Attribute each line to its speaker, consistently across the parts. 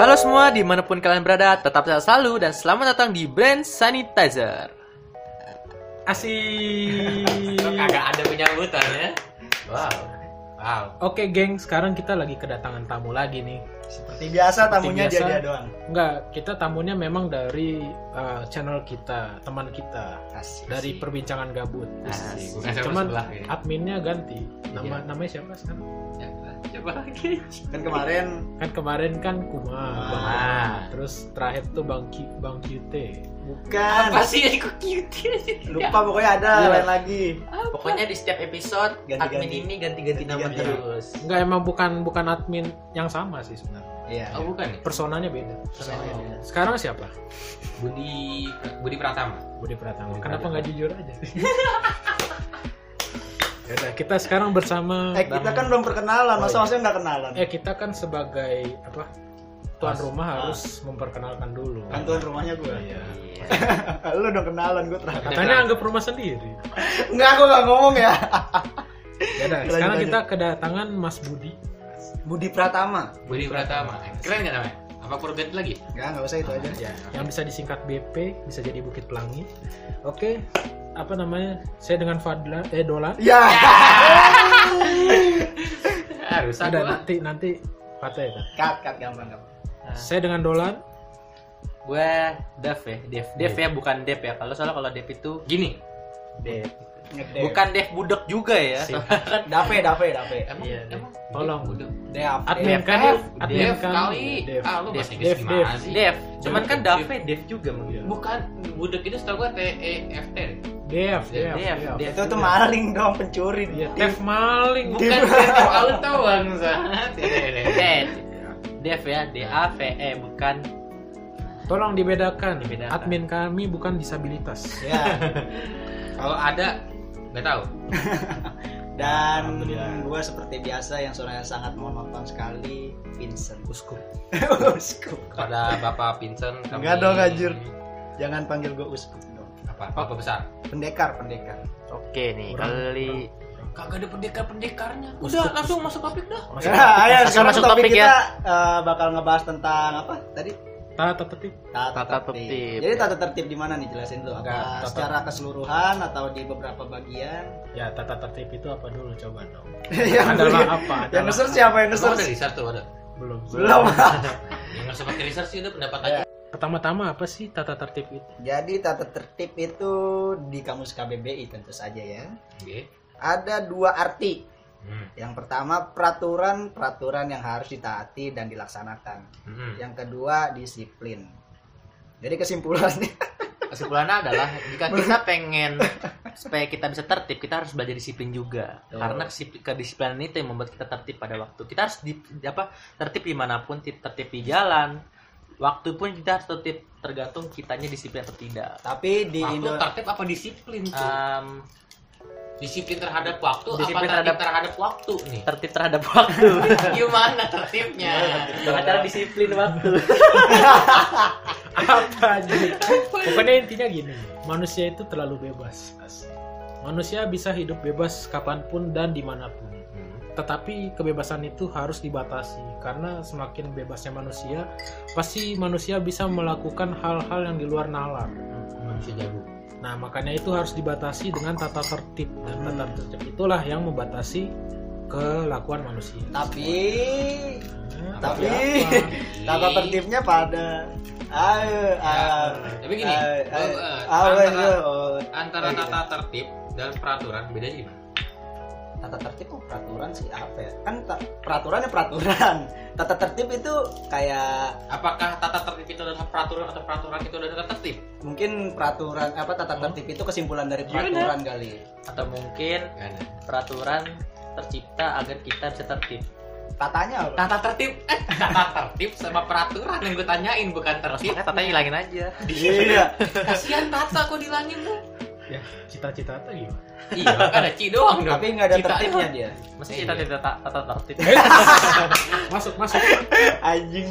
Speaker 1: Halo semua, dimanapun kalian berada, tetap sehat selalu dan selamat datang di Brand Sanitizer.
Speaker 2: Asik.
Speaker 3: Lo kagak ada penyambutan ya. Wow. Wow.
Speaker 2: Oke, geng, sekarang kita lagi kedatangan tamu lagi nih.
Speaker 4: Seperti biasa tamunya
Speaker 2: biasa.
Speaker 4: dia dia doang.
Speaker 2: Enggak, kita tamunya memang dari eh, channel kita, teman kita
Speaker 4: Asik.
Speaker 2: dari perbincangan gabut.
Speaker 3: Asik.
Speaker 2: Asik.
Speaker 3: Bukan sama
Speaker 2: Cuman
Speaker 3: sebelah ya.
Speaker 2: adminnya ganti. Nama
Speaker 3: Iya.
Speaker 2: namanya siapa sekarang?
Speaker 3: Ya, Coba lagi.
Speaker 4: Kan kemarin
Speaker 2: Kan kemarin kan Kuma, Bang
Speaker 4: Ah.
Speaker 2: Kuma. Terus terakhir tuh Bang Ki, Bang QT.
Speaker 4: bukan
Speaker 3: Apa sih yang kok cute?
Speaker 4: lupa pokoknya ada
Speaker 2: Iya.
Speaker 4: lain lagi.
Speaker 3: Pokoknya di setiap episode
Speaker 4: Ganti-ganti.
Speaker 3: admin ini ganti-ganti nama
Speaker 4: Ganti-ganti.
Speaker 3: terus.
Speaker 2: Enggak emang bukan bukan admin yang sama sih sebenarnya.
Speaker 4: Iya.
Speaker 3: Oh bukan ya?
Speaker 2: Personanya beda.
Speaker 4: Personanya
Speaker 3: Oh.
Speaker 4: beda.
Speaker 2: Sekarang siapa?
Speaker 3: Budi Budi Pratama.
Speaker 2: Budi Pratama.
Speaker 3: Budi
Speaker 2: Kenapa
Speaker 3: Pratama.
Speaker 2: nggak jujur aja? Yaudah, kita sekarang bersama
Speaker 4: Eh kita
Speaker 2: Bang-
Speaker 4: kan belum perkenalan,
Speaker 2: Oh,
Speaker 4: masa
Speaker 2: iya.
Speaker 4: maksudnya nggak kenalan?
Speaker 2: eh kita kan sebagai apa tuan
Speaker 4: Mas-
Speaker 2: rumah
Speaker 4: ah.
Speaker 2: harus memperkenalkan dulu.
Speaker 4: Kan tuan rumahnya gue.
Speaker 2: Iya.
Speaker 4: Lu dong kenalan gue terakhir.
Speaker 2: Katanya anggap rumah sendiri.
Speaker 4: Enggak, gue nggak ngomong ya.
Speaker 2: Yaudah,
Speaker 4: Lanjut,
Speaker 2: Ya sekarang
Speaker 4: lanjut.
Speaker 2: kita kedatangan Mas Budi.
Speaker 4: Budi Pratama.
Speaker 3: Budi Pratama. Keren nggak namanya? Apa perlu ganti lagi?
Speaker 4: Enggak, nggak usah itu aja.
Speaker 3: Iya.
Speaker 2: Ya, yang bisa disingkat BP, bisa jadi Bukit Pelangi. Oke, apa namanya? Saya dengan Fadla eh Dola.
Speaker 4: Ya.
Speaker 3: Ah, rusak
Speaker 2: Ada
Speaker 3: gua.
Speaker 2: nanti nanti kata ya. Kak?
Speaker 4: Cut, cut gampang gampang.
Speaker 2: Saya dengan Dolan.
Speaker 1: Gue Dev ya, Dev. Dev ya, bukan Dev ya. Kalau salah kalau Dev itu
Speaker 3: Gini.
Speaker 2: Dep.
Speaker 4: Ngedep.
Speaker 1: bukan Dev budek juga ya.
Speaker 2: Sip.
Speaker 4: Dape, dape, dape.
Speaker 3: Emang,
Speaker 2: Iya,
Speaker 3: emang.
Speaker 2: Tolong.
Speaker 3: Udah.
Speaker 4: Dev.
Speaker 2: Admin
Speaker 1: Dev,
Speaker 2: kan?
Speaker 1: Dev,
Speaker 2: Admin
Speaker 3: Dev
Speaker 2: kan?
Speaker 3: kali.
Speaker 2: Dev.
Speaker 3: Ah, lu
Speaker 2: Dev,
Speaker 3: bahasa Inggris
Speaker 2: Dev,
Speaker 3: gimana
Speaker 2: Dev.
Speaker 3: sih?
Speaker 1: Dev. Cuman
Speaker 2: Dev,
Speaker 1: kan
Speaker 3: Dev.
Speaker 1: Dave, Dev juga mah.
Speaker 2: Iya.
Speaker 3: Bukan budek itu setahu gua T E F T.
Speaker 2: Dev,
Speaker 3: Dev,
Speaker 2: Dev,
Speaker 1: Dev.
Speaker 2: Dev.
Speaker 4: Itu tuh maling dong, pencuri.
Speaker 2: Iya, Dev maling.
Speaker 3: Bukan E soal tahu bangsa.
Speaker 1: Dev. Dev ya, D A V E bukan.
Speaker 2: Tolong dibedakan.
Speaker 1: Dibedakan.
Speaker 2: Admin kami bukan disabilitas.
Speaker 4: Ya.
Speaker 3: Kalau ada nggak tahu.
Speaker 4: Dan
Speaker 2: Alhamdulillah.
Speaker 4: gue seperti biasa yang suaranya sangat monoton sekali, Vincent.
Speaker 2: Uskup.
Speaker 4: Uskup.
Speaker 3: Pada Bapak Pinsen kami
Speaker 4: Nggak dong, anjir. Jangan panggil gue uskup dong.
Speaker 3: Apa? Bapak besar.
Speaker 4: Pendekar, pendekar.
Speaker 1: Oke nih,
Speaker 2: Kurang.
Speaker 1: kali
Speaker 3: Kagak ada pendekar-pendekarnya.
Speaker 2: Udah, langsung
Speaker 3: masuk topik dah.
Speaker 2: Masuk.
Speaker 4: Ya, ayo
Speaker 1: Langsung
Speaker 4: sekarang
Speaker 1: masuk
Speaker 4: topik,
Speaker 1: topik
Speaker 4: kita
Speaker 1: ya.
Speaker 4: eh, bakal ngebahas tentang apa tadi?
Speaker 2: Tata tertib.
Speaker 4: Tata,
Speaker 1: Tata
Speaker 4: tertib.
Speaker 1: tertib.
Speaker 4: Jadi tata tertib di mana nih jelasin dulu?
Speaker 2: Enggak,
Speaker 4: Apa
Speaker 2: tata-
Speaker 4: secara keseluruhan atau di beberapa bagian?
Speaker 2: Ya, tata tertib itu apa dulu coba dong.
Speaker 4: yang
Speaker 2: Adalah apa? Adalah
Speaker 4: yang nge-search siapa yang
Speaker 3: Besar ada
Speaker 4: nge-search?
Speaker 3: research tuh ada.
Speaker 2: belum.
Speaker 4: Ya, Belum.
Speaker 3: Yang nggak sempat research sih udah pendapat
Speaker 4: Ya.
Speaker 3: aja.
Speaker 2: Pertama-tama apa sih tata tertib itu?
Speaker 4: Jadi tata tertib itu di kamus KBBI tentu saja ya.
Speaker 2: Iya.
Speaker 3: Oke.
Speaker 4: Ada dua arti.
Speaker 3: Hmm.
Speaker 4: Yang pertama peraturan peraturan yang harus ditaati dan dilaksanakan.
Speaker 3: Hmm.
Speaker 4: Yang kedua disiplin. Jadi kesimpulannya
Speaker 1: kesimpulannya adalah jika kita pengen supaya kita bisa tertib, kita harus belajar disiplin juga.
Speaker 4: Betul.
Speaker 1: Karena kesipli- kedisiplinan itu yang membuat kita tertib pada waktu. Kita harus di, di- apa tertib dimanapun, ti- tertib di jalan. Waktu pun kita harus tertib tergantung kitanya disiplin atau tidak.
Speaker 4: tapi di
Speaker 3: Waktu
Speaker 4: Indo
Speaker 3: tertib apa disiplin tuh?
Speaker 1: Em,
Speaker 3: Disiplin terhadap waktu
Speaker 1: Disiplin
Speaker 3: apa tertib
Speaker 1: terhadap-
Speaker 3: terhadap waktu nih?
Speaker 1: tertib terhadap waktu.
Speaker 3: Gimana tertibnya?
Speaker 1: Acara disiplin waktu.
Speaker 2: apa aja pokoknya intinya gini manusia itu terlalu bebas manusia bisa hidup bebas kapanpun dan dimanapun tetapi kebebasan itu harus dibatasi karena semakin bebasnya manusia pasti manusia bisa melakukan hal-hal yang di luar nalar
Speaker 3: Manusia jago.
Speaker 2: nah makanya itu harus dibatasi dengan tata tertib dan
Speaker 4: Hmm.
Speaker 2: tata tertib itulah yang membatasi kelakuan manusia
Speaker 4: tapi
Speaker 2: Nah,
Speaker 4: Tapi-
Speaker 2: apa?
Speaker 4: Tata tertibnya pada ayo ayo
Speaker 3: Tapi gini,
Speaker 4: ayo,
Speaker 3: gua,
Speaker 4: ayo,
Speaker 3: eh,
Speaker 4: ayo, ayo.
Speaker 3: antara- antara
Speaker 4: Eh, gitu.
Speaker 3: tata tertib dan peraturan bedanya gimana?
Speaker 4: tata tertib oh, peraturan sih apa ya kan ta- peraturannya peraturan tata tertib itu kayak
Speaker 3: Apakah tata tertib itu adalah peraturan atau peraturan itu adalah tata tertib?
Speaker 4: mungkin peraturan apa tata tertib itu kesimpulan dari peraturan kali
Speaker 1: Atau mungkin peraturan tercipta agar kita bisa tertib.
Speaker 4: tatanya apa
Speaker 3: Tata tertib, eh, tata tertib sama peraturan yang gue tanyain bukan tertib.
Speaker 1: Makanya tatanya hilangin aja.
Speaker 4: iya
Speaker 3: Kasihan tata kok dilangin lu.
Speaker 2: ya cita-cita tuh gimana
Speaker 3: Iya, kan ada ci doang dong.
Speaker 4: tapi nggak ada
Speaker 3: Cita-
Speaker 4: tertibnya dia
Speaker 1: Mesti
Speaker 3: Iya.
Speaker 1: kita tidak tata, tata tertib.
Speaker 2: masuk masuk
Speaker 4: anjing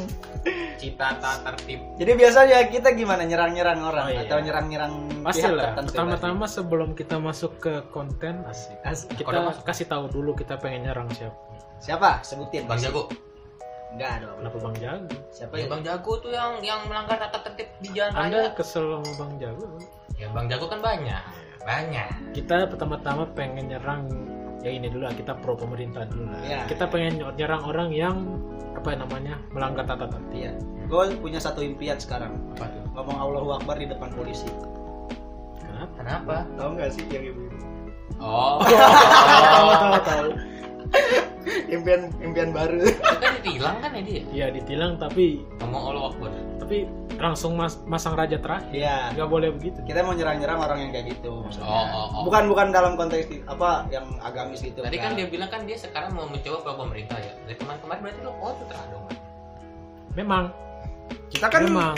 Speaker 3: Cita tata tertib.
Speaker 4: jadi biasanya kita gimana nyerang-nyerang orang
Speaker 2: Oh, iya.
Speaker 4: atau nyerang-nyerang pihak
Speaker 2: Pastilah.
Speaker 4: tertentu
Speaker 2: Pertama-tama sebelum kita masuk ke konten asik.
Speaker 4: As-
Speaker 2: Kita
Speaker 3: Kalau masuk.
Speaker 2: kasih tahu dulu kita pengen nyerang siapa.
Speaker 4: siapa sebutin
Speaker 3: Bang Jago.
Speaker 4: Enggak dong.
Speaker 2: Kenapa Bang Jago?
Speaker 4: Siapa
Speaker 3: Ya,
Speaker 4: yang
Speaker 3: Bang Jago tuh yang yang melanggar tata tertib di jalan
Speaker 2: Anda
Speaker 3: raya.
Speaker 2: kesel sama Bang Jago?
Speaker 3: Ya Bang Jago kan banyak, banyak.
Speaker 2: Kita pertama-tama pengen nyerang ya ini dulu lah kita pro pemerintah dulu lah.
Speaker 4: Iya.
Speaker 2: Kita pengen nyerang orang yang apa namanya melanggar tata tertib.
Speaker 4: Iya. Gue punya satu impian sekarang.
Speaker 3: Apa tuh?
Speaker 4: Ngomong Allahu Akbar di depan polisi.
Speaker 2: Kenapa?
Speaker 3: Kenapa?
Speaker 4: Tahu nggak sih yang ibu?
Speaker 3: Oh,
Speaker 4: Tahu
Speaker 3: oh.
Speaker 4: tahu tahu. impian impian baru.
Speaker 3: kan ditilang kan ya dia. Iya.
Speaker 2: Iya ditilang tapi
Speaker 3: Ngomong Allah Akbar.
Speaker 2: tapi langsung mas- masang raja terakhir.
Speaker 4: Iya.
Speaker 2: Nggak boleh begitu.
Speaker 4: Kita mau nyerang-nyerang orang yang kayak gitu maksudnya.
Speaker 3: Oh, oh, oh.
Speaker 4: Bukan bukan dalam konteks di- apa yang agamis gitu.
Speaker 3: Tadi kan
Speaker 4: enggak.
Speaker 3: dia bilang kan dia sekarang mau mencoba pro pemerintah ya. Dari kemarin-kemarin berarti lo kontra dong.
Speaker 2: Memang
Speaker 4: kita kan
Speaker 2: memang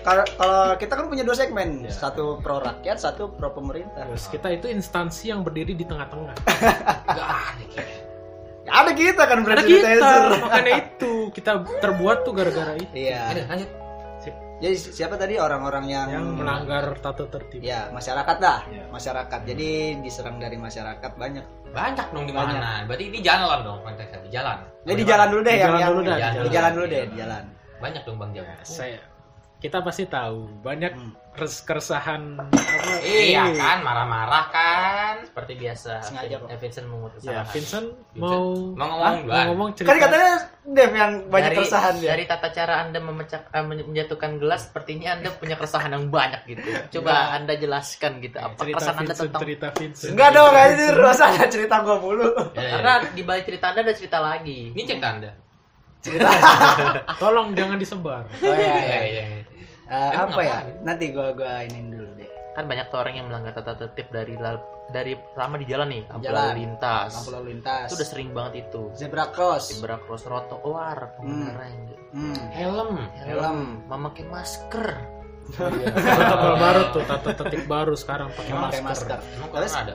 Speaker 4: kalau kalau kita kan punya dua segmen,
Speaker 2: Iya.
Speaker 4: satu pro rakyat, satu pro pemerintah.
Speaker 2: Terus kita itu instansi yang berdiri di tengah-tengah.
Speaker 3: Gak ada kayaknya.
Speaker 4: Ya, ada kita kan
Speaker 2: Karena
Speaker 4: berarti
Speaker 2: kita makanya itu kita terbuat tuh gara-gara itu
Speaker 4: Iya.
Speaker 3: Ada lanjut.
Speaker 4: Jadi si- siapa tadi orang-orang yang,
Speaker 2: yang melanggar tata tertib.
Speaker 4: Ya masyarakat lah,
Speaker 2: Iya.
Speaker 4: masyarakat. Jadi diserang dari masyarakat banyak.
Speaker 3: Banyak dong di mana? Berarti ini jalan dong konteksnya di jalan.
Speaker 4: Jadi di jalan dulu deh
Speaker 2: Di
Speaker 4: yang
Speaker 2: jalan
Speaker 4: yang
Speaker 2: dulu dah,
Speaker 4: di
Speaker 2: di
Speaker 4: jalan,
Speaker 2: jalan.
Speaker 4: dulu deh, di jalan.
Speaker 3: Banyak dong Bang Jago.
Speaker 2: Ya, saya kita pasti tahu banyak
Speaker 4: Hmm.
Speaker 2: res- keresahan apa
Speaker 3: Iya
Speaker 2: eh.
Speaker 3: kan, marah-marah kan.
Speaker 1: Seperti biasa,
Speaker 4: Sengaja
Speaker 1: Vin-
Speaker 4: kok.
Speaker 1: eh, Vincent mengutuk
Speaker 2: Ya,
Speaker 1: kesalahan.
Speaker 2: Vincent mau
Speaker 3: Mau ngomong
Speaker 2: Ah,
Speaker 3: duluan.
Speaker 2: ngomong cerita.
Speaker 4: Kan katanya Dev yang banyak
Speaker 1: Dari-
Speaker 4: keresahan ya. dia.
Speaker 1: Dari tata cara Anda memecah eh, men- menjatuhkan gelas, sepertinya Anda punya keresahan yang banyak gitu.
Speaker 4: Iya.
Speaker 1: Coba Anda jelaskan gitu apa
Speaker 2: cerita
Speaker 1: keresahan Anda
Speaker 2: Vincent,
Speaker 1: tentang Iya,
Speaker 2: cerita Vincent.
Speaker 4: Enggak dong, anjir, masa ada cerita gua mulu.
Speaker 3: Ya, ya,
Speaker 1: karena
Speaker 3: ya.
Speaker 1: di balik cerita Anda ada cerita lagi.
Speaker 3: ini cerita Anda.
Speaker 2: Tolong jangan disebar.
Speaker 4: Oh iya,
Speaker 3: Iya,
Speaker 4: iya.
Speaker 3: iya.
Speaker 4: Eh,
Speaker 3: Emang
Speaker 4: apa ya?
Speaker 3: ngapain?
Speaker 4: Nanti gua gua inin dulu deh.
Speaker 1: Kan banyak tuh orang yang melanggar tata tertib dari lal- dari lama di jalan nih, lampu
Speaker 4: Jalan.
Speaker 1: lalu lintas.
Speaker 4: Lampu lalu lintas.
Speaker 1: Itu udah sering banget itu.
Speaker 4: Zebra cross.
Speaker 1: Zebra cross oh, trotoar pengendara yang ya
Speaker 4: Hmm.
Speaker 3: Helm.
Speaker 4: Helm.
Speaker 1: memakai masker.
Speaker 2: Protokol baru tuh tata tertib baru sekarang pakai
Speaker 4: Emang pakai
Speaker 2: masker.
Speaker 4: masker.
Speaker 3: Emang
Speaker 4: Tapi
Speaker 3: corona ada?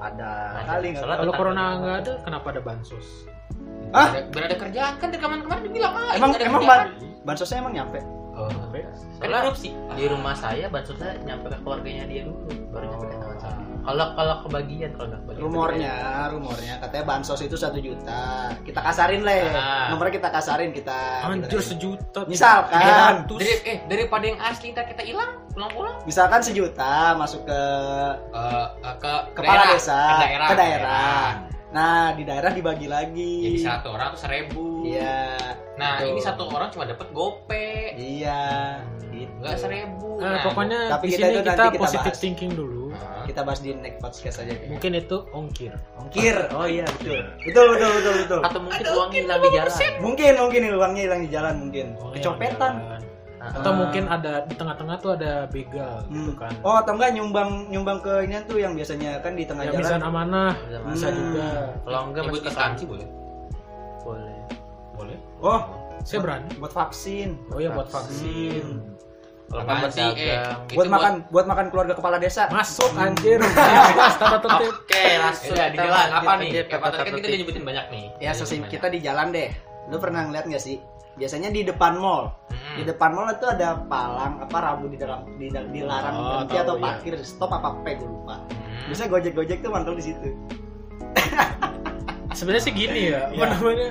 Speaker 4: ada
Speaker 1: Ada.
Speaker 4: kali nggak?
Speaker 1: Soalnya
Speaker 2: Kalau
Speaker 1: tetap-
Speaker 2: corona nggak ada, kenapa ada bansos?
Speaker 4: Hah?
Speaker 3: Ada, biar ada kerjaan kan dari kemarin-kemarin dibilang ah,
Speaker 4: Emang-
Speaker 3: ada
Speaker 4: emang
Speaker 3: kerjaan.
Speaker 4: Bansosnya emang nyampe.
Speaker 3: Oh.
Speaker 2: Sampai
Speaker 4: Nah,
Speaker 3: Kan
Speaker 1: Soalnya
Speaker 3: korupsi.
Speaker 1: di rumah saya bansusnya nyampe ke keluarganya dia dulu baru nyampe ke tangan saya.
Speaker 3: Ah.
Speaker 1: Kalau kalau kebagian kalau nggak kebagian.
Speaker 4: Oh. Rumornya, rumornya katanya bansos itu satu juta. Kita kasarin leh.
Speaker 3: Ah.
Speaker 4: Nomornya kita kasarin kita.
Speaker 2: Anjir
Speaker 4: kita-
Speaker 2: sejuta.
Speaker 4: Misalkan.
Speaker 2: 300.
Speaker 3: Dari, eh, daripada yang asli ntar kita hilang pulang-pulang
Speaker 4: Misalkan sejuta masuk ke
Speaker 3: Eh, eh, ke
Speaker 4: kepala
Speaker 3: daerah,
Speaker 4: desa,
Speaker 3: ke daerah,
Speaker 4: ke daerah. Nah, di daerah dibagi lagi.
Speaker 3: Jadi Ya, satu orang tuh seribu.
Speaker 4: Iya.
Speaker 3: Nah
Speaker 4: Betul.
Speaker 3: ini satu orang cuma dapat gope,
Speaker 4: Iya. Gitu.
Speaker 3: nggak seribu.
Speaker 2: Nah, pokoknya di
Speaker 4: tapi
Speaker 2: sini
Speaker 4: kita itu
Speaker 2: kita,
Speaker 4: nanti kita
Speaker 2: positive
Speaker 4: bahas.
Speaker 2: thinking dulu.
Speaker 3: Nah,
Speaker 4: Kita bahas di next podcast aja. deh.
Speaker 2: Mungkin itu ongkir.
Speaker 4: Ongkir. Oh iya, betul. Betul, betul, betul, betul.
Speaker 1: Atau mungkin uang hilang di jalan.
Speaker 4: Mungkin mungkin uangnya hilang di jalan mungkin.
Speaker 2: Uangnya
Speaker 4: Kecopetan. Ah.
Speaker 2: yang jalan. iya, Atau mungkin ada di tengah-tengah tuh ada begal gitu
Speaker 4: Hmm.
Speaker 2: kan.
Speaker 4: Oh atau enggak nyumbang nyumbang ke ini tuh yang biasanya kan di tengah
Speaker 2: yang bisa
Speaker 4: jalan.
Speaker 2: amanah
Speaker 1: Bisa
Speaker 4: Hmm.
Speaker 1: masuk.
Speaker 2: bisa juga.
Speaker 1: Kalau enggak
Speaker 3: Nyebut
Speaker 1: masuk ke
Speaker 3: instansi boleh.
Speaker 1: boleh.
Speaker 2: Boleh.
Speaker 4: Oh
Speaker 2: Saya berani.
Speaker 4: buat vaksin.
Speaker 2: Oh iya buat
Speaker 4: vaksin.
Speaker 2: vaksin.
Speaker 1: Kalau
Speaker 3: Apaan
Speaker 1: kan
Speaker 3: sih, eh?
Speaker 1: berdagang.
Speaker 3: Itu
Speaker 2: Gitu
Speaker 4: buat makan buat makan keluarga kepala desa.
Speaker 2: Masuk anjir.
Speaker 4: Hmm.
Speaker 2: Iya, Tata tertib.
Speaker 1: Oke, langsung
Speaker 3: Sudah di
Speaker 1: kita
Speaker 3: jalan
Speaker 1: lanjut aja
Speaker 3: apa nih?
Speaker 1: ke
Speaker 3: Kayak tadi kan kita
Speaker 1: tata-tata.
Speaker 3: udah nyebutin banyak
Speaker 4: Ya
Speaker 3: nih.
Speaker 2: Iya,
Speaker 3: Nyebutin
Speaker 4: sesi
Speaker 3: banyak.
Speaker 4: kita di jalan deh. Lu pernah ngeliat nggak sih? Biasanya di depan mall.
Speaker 3: Hmm.
Speaker 4: Di depan mall itu ada palang apa rabu di dalam di dalam dilarang
Speaker 2: Oh,
Speaker 4: berhenti
Speaker 2: tahu,
Speaker 4: atau
Speaker 2: iya.
Speaker 4: parkir stop apa apa gue lupa.
Speaker 3: Hmm.
Speaker 4: Biasanya gojek gojek tuh mantul di situ.
Speaker 2: Sebenarnya sih gini ya, apa
Speaker 4: Iya.
Speaker 2: namanya?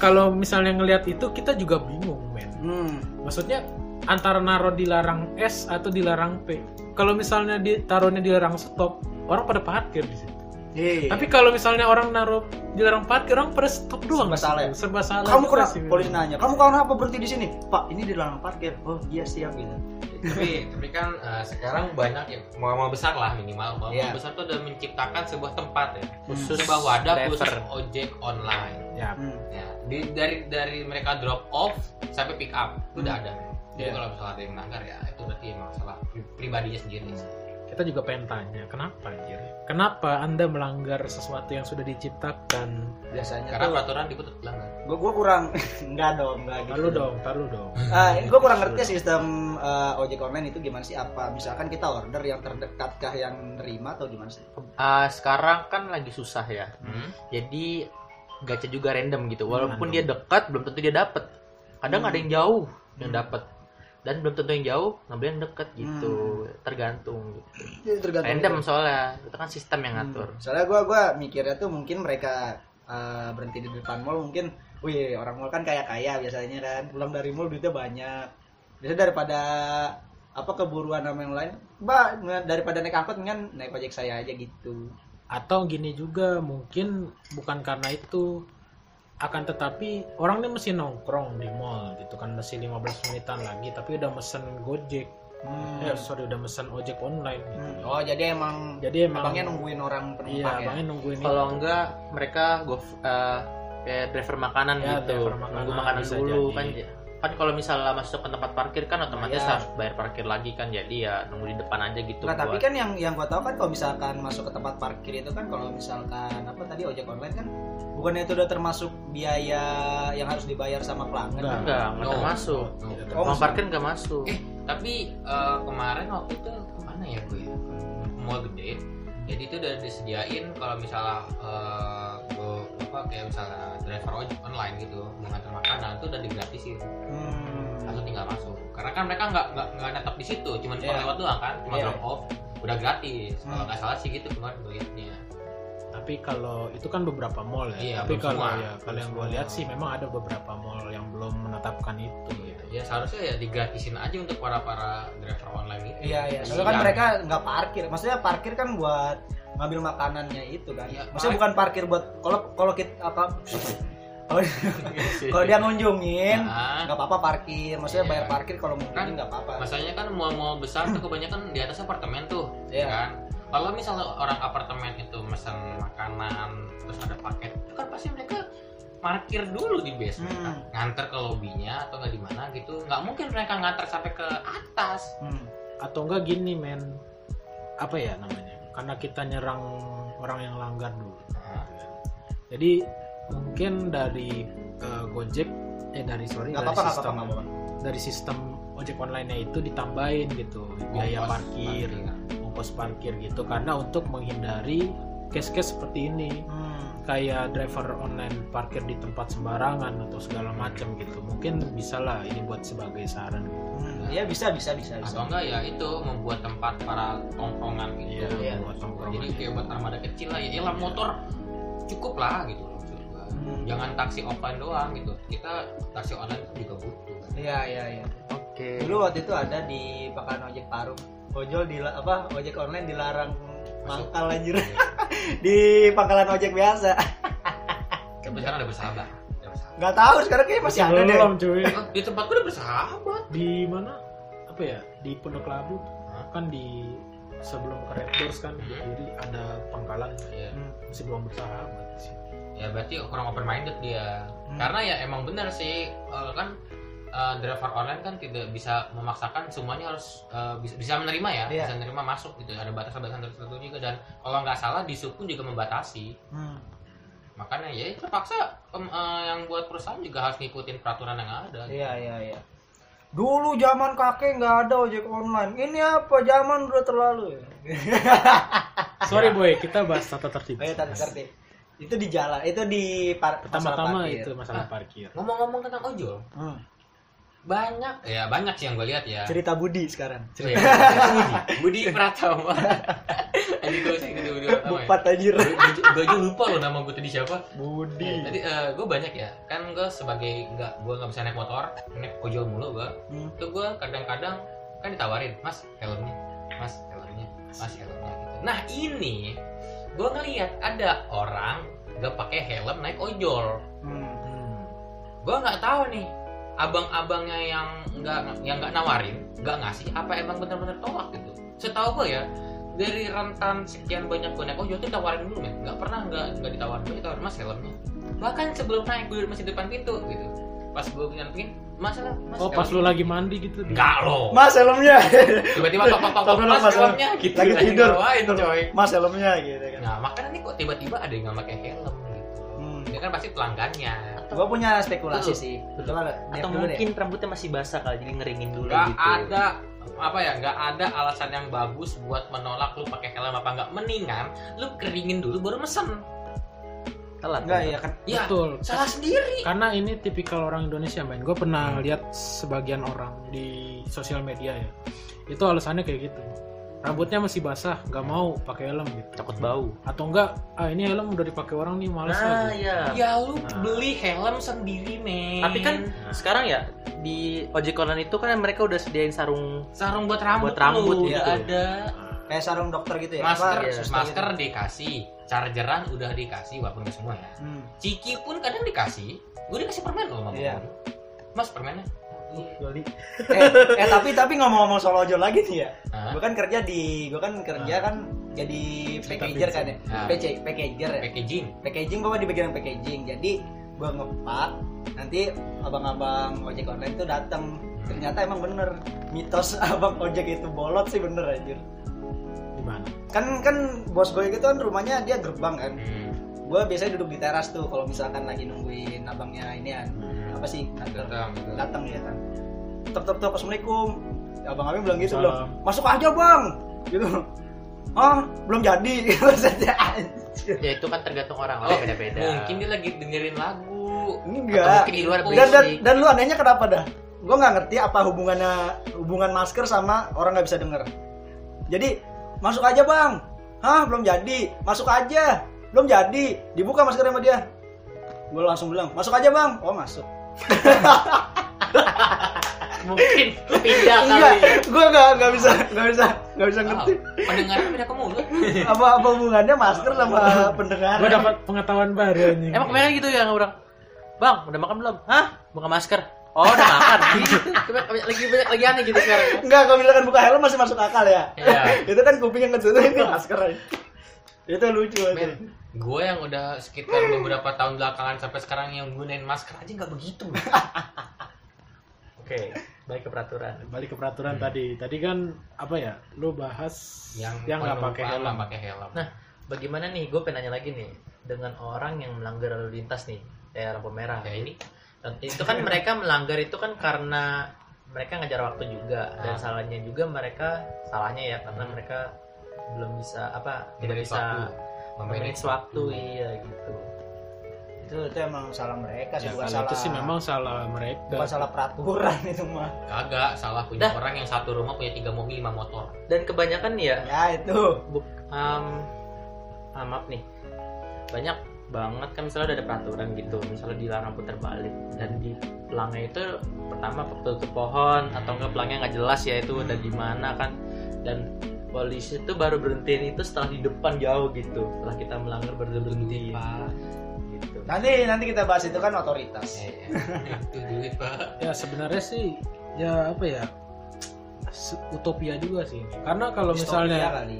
Speaker 2: Kalau misalnya ngelihat itu kita juga bingung, men.
Speaker 4: Hmm.
Speaker 2: Maksudnya antara naro dilarang S atau dilarang P. Kalau misalnya ditaruhnya dilarang stop, orang pada parkir di situ.
Speaker 4: Hei.
Speaker 2: Tapi kalau misalnya orang naruh dilarang parkir, orang pada stop doang.
Speaker 4: Serba salah ya?
Speaker 2: Serba salah.
Speaker 4: kamu
Speaker 2: juga
Speaker 4: kenapa?
Speaker 2: sih,
Speaker 4: Polisi
Speaker 2: memang.
Speaker 4: nanya. Kamu kenapa berhenti di sini? Pak, ini dilarang parkir. Oh iya siap gitu.
Speaker 3: tapi tapi kan eh, sekarang banyak ya mama besar lah minimal mama
Speaker 4: Iya.
Speaker 3: besar tuh udah menciptakan sebuah tempat ya
Speaker 1: Khusus
Speaker 3: sebuah wadah
Speaker 1: driver.
Speaker 3: khusus ojek online
Speaker 2: Ya,
Speaker 4: Hmm.
Speaker 3: ya di- dari dari mereka drop off sampai pick up itu udah ada jadi
Speaker 4: Iya.
Speaker 3: kalau misalnya ada yang melanggar ya itu berarti emang salah pri- pribadinya sendiri sih.
Speaker 2: kita juga pengen tanya, kenapa anjir? Kenapa Anda melanggar sesuatu yang sudah diciptakan?
Speaker 4: Biasanya
Speaker 3: karena
Speaker 4: tuh
Speaker 3: peraturan dibutuh pelanggar
Speaker 4: gue gue kurang enggak dong enggak gitu
Speaker 2: Taruh dong, taruh dong.
Speaker 4: gue Ah, kurang ngerti sistem eh, ojek online itu gimana sih apa misalkan kita order yang terdekat kah yang nerima atau gimana sih
Speaker 1: Ah, sekarang kan lagi susah ya.
Speaker 3: Hmm.
Speaker 1: Jadi gacha juga random gitu. Walaupun
Speaker 2: Random.
Speaker 1: dia dekat, belum tentu dia dapat. Kadang
Speaker 4: Hmm.
Speaker 1: ada yang jauh yang
Speaker 4: Hmm.
Speaker 1: dapat. Dan belum tentu yang jauh, ngambil yang dekat gitu.
Speaker 3: Hmm.
Speaker 1: Tergantung. gitu.
Speaker 4: Itu Hmm. tergantung
Speaker 1: Random soalnya. Itu kan sistem yang ngatur.
Speaker 4: soalnya gue gua mikirnya tuh mungkin mereka eh, eh, berhenti di depan mall mungkin wih orang mall kan kaya kaya biasanya kan pulang dari mall duitnya banyak biasanya daripada apa keburuan sama yang lain bah daripada naik angkot kan naik ojek saya aja gitu
Speaker 2: atau gini juga mungkin bukan karena itu akan tetapi orang ini mesti nongkrong di mall gitu kan masih 15 menitan lagi tapi udah mesen gojek
Speaker 4: Hmm.
Speaker 2: eh sorry udah mesen ojek online gitu.
Speaker 4: Hmm. oh jadi emang
Speaker 2: jadi emang
Speaker 4: abangnya nungguin orang
Speaker 2: iya
Speaker 4: penumpang ya
Speaker 2: abangnya nungguin ini.
Speaker 1: Kalau enggak mereka go eh, kayak driver makanan
Speaker 2: Ya,
Speaker 1: gitu.
Speaker 2: driver makanan
Speaker 1: Nunggu makanan
Speaker 2: bisa
Speaker 1: dulu
Speaker 2: jadi.
Speaker 1: kan kan kalau misalnya masuk ke tempat parkir kan otomatis
Speaker 4: Iya.
Speaker 1: harus bayar parkir lagi kan jadi ya nunggu di depan aja gitu
Speaker 4: Nah, tapi
Speaker 1: buat-
Speaker 4: kan yang yang gue tahu kan kalau misalkan masuk ke tempat parkir itu kan kalau misalkan apa tadi ojek online kan bukannya itu udah termasuk biaya yang harus dibayar sama pelanggan? kan?
Speaker 2: Enggak.
Speaker 1: enggak enggak
Speaker 3: No.
Speaker 1: termasuk.
Speaker 2: Tidak
Speaker 4: Oh,
Speaker 1: Uang
Speaker 4: maksud-
Speaker 1: parkir enggak masuk.
Speaker 3: Eh, tapi eh, kemarin waktu itu kemana ya gue ya? Ke mall gede jadi itu udah disediain kalau misalnya eh, gue apa kayak misalnya driver ojek online gitu mengantar makanan itu udah digratisin
Speaker 4: Hmm.
Speaker 3: langsung tinggal masuk karena kan mereka nggak nggak nggak netap di situ cuma cuma
Speaker 4: Iya.
Speaker 3: lewat doang kan cuma
Speaker 4: Iya.
Speaker 3: drop off udah gratis kalau
Speaker 4: Hmm.
Speaker 3: nggak salah sih gitu kemarin gue liatnya
Speaker 2: tapi kalau itu kan beberapa mall ya
Speaker 3: Iya,
Speaker 2: tapi
Speaker 3: belum
Speaker 2: kalau
Speaker 3: semua.
Speaker 2: ya kalau yang
Speaker 3: Belum
Speaker 2: gue
Speaker 3: semua.
Speaker 2: lihat sih memang ada beberapa mall yang belum menetapkan itu
Speaker 4: Iya.
Speaker 2: gitu
Speaker 3: ya seharusnya ya digratisin aja untuk para para driver online gitu
Speaker 4: Iya iya. Soalnya kan
Speaker 3: Iya.
Speaker 4: mereka nggak parkir. Maksudnya parkir kan buat ngambil makanannya itu kan.
Speaker 3: Iya,
Speaker 4: Maksudnya
Speaker 3: park-
Speaker 4: bukan parkir buat kalau kalau kita apa kalau dia ngunjungin
Speaker 3: Nah,
Speaker 4: nggak apa-apa parkir. Maksudnya
Speaker 3: Iya.
Speaker 4: bayar parkir kalau mau ngunjungin nggak apa-apa.
Speaker 3: masalahnya kan mall-mall besar tuh kebanyakan di atas apartemen tuh
Speaker 4: Iya.
Speaker 3: ya kan kalau misalnya orang apartemen itu mesen makanan terus ada paket itu kan pasti mereka parkir dulu di basement kan.
Speaker 4: Hmm.
Speaker 3: nganter ke lobbynya atau nggak di mana gitu nggak mungkin mereka nganter sampai ke atas
Speaker 4: Hmm.
Speaker 2: atau enggak gini men apa ya namanya karena kita nyerang orang yang langgar dulu
Speaker 3: Nah,
Speaker 2: jadi mungkin dari eh, Gojek eh dari sorry
Speaker 4: Nggak
Speaker 2: dari
Speaker 4: apa-apa nggak apa-apa
Speaker 2: sistem ya.
Speaker 4: nggak apa-apa.
Speaker 2: dari sistem ojek online-nya itu ditambahin gitu biaya
Speaker 3: ongkos
Speaker 2: parkir ongkos parkir gitu karena untuk menghindari case-case seperti ini
Speaker 4: Hmm.
Speaker 2: kayak driver online parkir di tempat sembarangan atau segala macam gitu mungkin bisalah ini buat sebagai saran
Speaker 4: Hmm, Iya bisa bisa bisa bisa.
Speaker 3: atau enggak ya itu membuat tempat para tongkrongan gitu
Speaker 4: iya.
Speaker 2: buat tongkrongan. gitu.
Speaker 3: jadi kayak buat armada kecil lah ya iyalah motor cukup lah gitu loh maksud gua.
Speaker 4: Hmm.
Speaker 3: jangan taksi offline doang gitu kita taksi online tuh juga butuh kan.
Speaker 4: Iya iya iya.
Speaker 1: Oke.
Speaker 4: Dulu waktu itu ada di Pakan Ojek Parung. Ojol di apa ojek online dilarang
Speaker 3: Masuk.
Speaker 4: mangkal anjir di pangkalan ojek biasa.
Speaker 3: tapi sekarang udah bersahabat udah bersahabat
Speaker 4: Nggak tahu sekarang kayaknya masih ada deh.
Speaker 2: belum cuy
Speaker 3: Eh, di tempat gua udah bersahabat
Speaker 2: di mana apa ya di Pondok Labu
Speaker 3: Hah?
Speaker 2: kan di sebelum ke Red Doors kan di
Speaker 3: Iya.
Speaker 2: kiri ada pangkalan
Speaker 3: ya,
Speaker 4: Hmm.
Speaker 2: masih belum bersahabat sih
Speaker 3: ya berarti kurang open minded dia karena ya emang benar sih eh, kan eh, driver online kan tidak bisa memaksakan semuanya harus eh, bisa, bisa menerima ya
Speaker 4: Iya.
Speaker 3: bisa menerima masuk gitu ada batasan-batasan tertentu juga dan kalau nggak salah di sub pun juga membatasi
Speaker 4: Hmm.
Speaker 3: makanya ya terpaksa em, eh, yang buat perusahaan juga harus ngikutin peraturan yang ada
Speaker 4: Iya iya iya. Dulu zaman kakek nggak ada ojek online. Ini apa? Zaman udah terlalu.
Speaker 3: Ah,
Speaker 2: sorry
Speaker 3: iya.
Speaker 2: boy kita bahas tata tertib
Speaker 4: Ayo tante ngerti. Itu di jalan, itu di par-
Speaker 2: pertama-tama
Speaker 4: masalah parkir.
Speaker 2: itu masalah parkir
Speaker 3: ngomong-ngomong tentang ojol
Speaker 4: Hmm.
Speaker 3: banyak ya banyak sih yang gue lihat
Speaker 2: Nah.
Speaker 3: ya
Speaker 4: Cerita Budi sekarang.
Speaker 3: Iya, Budi Budi Pratama tadi gue sih gitu Budi Pratama ya.
Speaker 4: Bupat anjir.
Speaker 3: gue aja lupa loh nama gue tadi siapa
Speaker 2: Budi
Speaker 4: Iya,
Speaker 3: tadi gue banyak ya kan gue sebagai nggak gue nggak bisa naik motor naik ojol mulu gue
Speaker 4: Hmm.
Speaker 3: itu gue kadang-kadang kan ditawarin mas helmnya mas helmnya mas helmnya gitu nah ini gue ngelihat ada orang nggak pakai helm naik ojol
Speaker 4: Hmm.
Speaker 3: gue nggak tahu nih abang-abangnya yang nggak yang nggak nawarin nggak ngasih apa emang benar-benar tolak gitu setahu gue ya dari rentan sekian banyak gue naik ojol tuh tawarin dulu men nggak pernah nggak nggak ditawarin dulu ditawarin mas helmnya bahkan sebelum naik gue masih depan pintu gitu pas gue nyampingin mas helm mas
Speaker 2: oh pas
Speaker 3: helm."
Speaker 2: lu lagi mandi gitu di-
Speaker 3: nggak lo
Speaker 4: Mas helmnya.
Speaker 3: tiba-tiba tok tok tok, tok
Speaker 4: Tolong,
Speaker 3: mas
Speaker 4: Mas,
Speaker 3: helmnya gitu
Speaker 4: Lagi
Speaker 3: Anjing,
Speaker 4: tidur.
Speaker 3: ngapain, coy
Speaker 4: Mas helmnya gitu kan.
Speaker 3: nah makanya nih kok tiba-tiba ada yang nggak pakai helm gitu
Speaker 4: Hmm.
Speaker 3: ini kan pasti pelanggannya
Speaker 4: Gue punya spekulasi
Speaker 3: Betul.
Speaker 4: sih. Betul ada.
Speaker 1: Atau mungkin rambutnya masih basah kali jadi ngeringin dulu
Speaker 3: nggak
Speaker 1: gitu.
Speaker 3: ada apa ya nggak ada alasan yang bagus buat menolak lu pakai helm apa nggak mendingan lu keringin dulu baru mesen
Speaker 1: Telat.
Speaker 4: Enggak
Speaker 1: kan?
Speaker 4: ya kan.
Speaker 3: ya
Speaker 2: betul
Speaker 3: salah sendiri
Speaker 2: karena ini tipikal orang Indonesia men gue pernah lihat sebagian orang di sosial media ya itu alasannya kayak gitu rambutnya masih basah nggak mau pakai helm gitu
Speaker 1: takut bau
Speaker 2: atau enggak ah ini helm udah dipakai orang nih males lah gitu.
Speaker 1: iya
Speaker 3: Ya lu
Speaker 1: Nah.
Speaker 3: beli helm sendiri men.
Speaker 1: tapi kan sekarang ya di ojek online itu kan mereka udah sediain sarung
Speaker 3: sarung buat
Speaker 1: Buat
Speaker 3: rambut,
Speaker 1: rambut
Speaker 3: lu,
Speaker 1: gitu.
Speaker 3: udah ada.
Speaker 2: Ah,
Speaker 4: kayak sarung dokter gitu ya
Speaker 3: Masker,
Speaker 4: Apa,
Speaker 1: iya.
Speaker 4: suster
Speaker 3: masker
Speaker 4: gitu.
Speaker 3: dikasih, chargeran udah dikasih walaupun nggak semua ya.
Speaker 4: Hmm.
Speaker 3: Ciki pun kadang dikasih. Gue dikasih permen loh sama
Speaker 4: Iya.
Speaker 3: gua. Mas permennya.
Speaker 4: Joli. eh, eh, tapi tapi ngomong-ngomong soal ojol lagi nih ya
Speaker 3: Hah?
Speaker 4: gue kan kerja di gue kan kerja
Speaker 2: Ah.
Speaker 4: kan jadi packager kan ya
Speaker 3: Ah.
Speaker 4: PC, packager ya
Speaker 3: Packaging.
Speaker 4: packaging gue di bagian packaging jadi gue ngepak nanti abang-abang ojek online tuh datang ternyata emang bener mitos abang ojek itu bolot sih bener anjir
Speaker 2: gimana
Speaker 4: kan kan bos gue gitu kan rumahnya dia gerbang kan
Speaker 3: Hmm.
Speaker 4: gue biasanya duduk di teras tuh kalau misalkan lagi nungguin abangnya ini kan apa sih kantor
Speaker 3: Datang.
Speaker 4: datang ya kan tok tok tok assalamualaikum abang abang bilang gitu
Speaker 2: Salam.
Speaker 4: belum masuk aja bang gitu ah belum jadi maksudnya anjir.
Speaker 1: ya itu kan tergantung orang
Speaker 3: Oh,
Speaker 1: lah beda beda
Speaker 3: Mungkin dia lagi dengerin lagu.
Speaker 4: enggak
Speaker 1: mungkin di luar
Speaker 4: dan, dan,
Speaker 1: berisik.
Speaker 4: dan lu anehnya kenapa dah gue nggak ngerti apa hubungannya hubungan masker sama orang nggak bisa denger jadi masuk aja bang hah belum jadi masuk aja belum jadi dibuka masker sama dia gue langsung bilang masuk aja bang oh masuk
Speaker 1: mungkin pindah
Speaker 2: Iya.
Speaker 4: Iya.
Speaker 1: kali
Speaker 4: enggak gue nggak nggak bisa nggak bisa nggak bisa
Speaker 3: Oh,
Speaker 4: ngerti
Speaker 3: pendengaran beda ke mulut.
Speaker 4: apa apa hubungannya masker sama pendengaran
Speaker 2: gue dapat pengetahuan baru anjing
Speaker 1: emang kemarin gitu ya orang bang udah makan belum hah buka masker oh udah makan gitu Kemarin- kemarin- lagi lagi aneh gitu sekarang
Speaker 4: enggak kalau misalkan buka helm masih masuk akal ya
Speaker 3: Iya.
Speaker 4: itu kan kuping yang ketutup itu masker aja. itu lucu aja
Speaker 3: Men, gue yang udah sekitar beberapa tahun belakangan sampai sekarang yang gunain masker aja nggak begitu.
Speaker 1: oke baik ke peraturan
Speaker 2: balik ke peraturan
Speaker 4: Hmm.
Speaker 2: tadi tadi kan apa ya lu bahas yang
Speaker 3: Yang
Speaker 2: nggak pakai
Speaker 3: penumpang
Speaker 2: helm
Speaker 3: nggak pakai helm.
Speaker 1: Nah, bagaimana nih? Gue pengen nanya lagi nih dengan orang yang melanggar lalu lintas nih kayak lampu merah.
Speaker 3: Ya ini
Speaker 1: Dan itu kan mereka melanggar itu kan karena mereka ngejar waktu juga dan
Speaker 3: Ah.
Speaker 1: salahnya juga mereka salahnya ya karena mereka belum bisa apa tidak
Speaker 3: Memanage
Speaker 1: bisa
Speaker 3: waktu.
Speaker 1: memanage
Speaker 3: Memanage
Speaker 1: waktu iya gitu.
Speaker 4: itu itu emang salah mereka sih
Speaker 2: ya,
Speaker 4: bukan
Speaker 2: kalau
Speaker 4: salah
Speaker 2: itu sih memang salah mereka
Speaker 4: bukan salah peraturan itu mah
Speaker 3: Kagak, salah punya
Speaker 1: Dah.
Speaker 3: orang yang satu rumah punya tiga mobil lima motor.
Speaker 1: Dan kebanyakan ya
Speaker 4: ya itu
Speaker 1: um, ah, maaf nih banyak banget kan misalnya udah ada peraturan gitu misalnya dilarang putar balik dan di pelangnya itu pertama tutup pohon atau enggak pelangnya nggak jelas ya itu udah di mana kan dan polisi itu baru berhentiin itu setelah di depan jauh gitu setelah kita melanggar baru dia berhenti
Speaker 3: Pak,
Speaker 1: gitu
Speaker 4: nanti nanti kita bahas itu kan otoritas
Speaker 3: eh, itu duit pak.
Speaker 2: ya sebenarnya sih ya apa ya se- utopia juga sih ini. karena kalau
Speaker 4: Distopia
Speaker 2: misalnya
Speaker 4: kali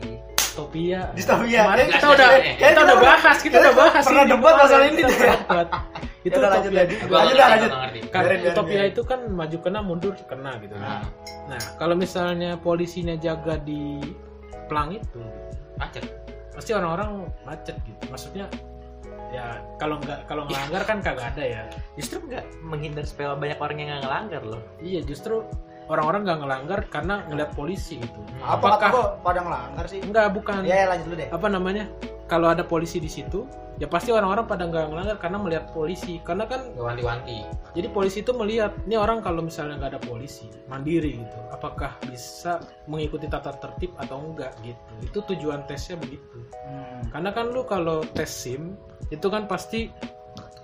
Speaker 2: utopia
Speaker 4: distopia
Speaker 2: Kemarin
Speaker 3: Jelas,
Speaker 2: kita
Speaker 3: jelas,
Speaker 2: udah
Speaker 3: eh.
Speaker 2: kita udah bahas, kita udah bahas
Speaker 4: pernah
Speaker 2: ini.
Speaker 4: debat masalah ini.
Speaker 2: Kita pernah debat. Itu
Speaker 4: Ya udah, lanjut,
Speaker 2: utopia.
Speaker 4: lanjut.
Speaker 3: Gua
Speaker 4: Lanjut
Speaker 3: nggak
Speaker 4: lah, lanjut.
Speaker 3: ngerti, gua nggak ngerti.
Speaker 2: Kan
Speaker 4: Biarin, biarin,
Speaker 2: utopia
Speaker 4: biarin.
Speaker 2: itu kan maju kena mundur kena gitu.
Speaker 3: Nah,
Speaker 2: Nah, kalau misalnya polisinya jaga di pelang itu,
Speaker 3: macet. Hmm.
Speaker 2: pasti orang-orang macet gitu. Maksudnya ya kalau nggak kalau ngelanggar kan kagak ada ya.
Speaker 1: justru nggak menghindar supaya banyak orang yang nggak ngelanggar loh
Speaker 2: Iya justru orang-orang nggak ngelanggar karena ngeliat polisi gitu.
Speaker 4: apa
Speaker 2: Apakah-
Speaker 4: kok pada ngelanggar sih
Speaker 2: Enggak bukan
Speaker 4: ya ya, lanjut dulu deh
Speaker 2: apa namanya kalau ada polisi di situ ya pasti orang-orang pada nggak ngelanggar karena melihat polisi karena kan
Speaker 3: Gak wanti-wanti.
Speaker 2: Jadi polisi itu melihat, ini orang kalau misalnya nggak ada polisi, mandiri gitu, apakah bisa mengikuti tata tertib atau enggak gitu. Itu tujuan tesnya begitu.
Speaker 4: Hmm.
Speaker 2: Karena kan lu kalau tes SIM, itu kan pasti